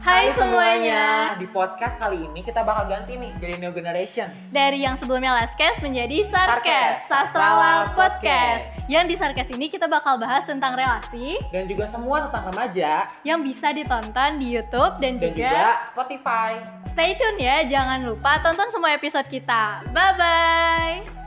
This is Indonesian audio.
Hai semuanya. Di podcast kali ini kita bakal ganti nih jadi New Generation. Dari yang sebelumnya Laskes menjadi Sarkes, Sarkes, Sastrawa Sastrawa Podcast. Podcast. Yang di Sarkes ini kita bakal bahas tentang relasi Dan juga semua tentang remaja yang bisa ditonton di YouTube dan, dan juga, juga Spotify. stay tune ya, jangan lupa tonton semua episode kita. Bye bye.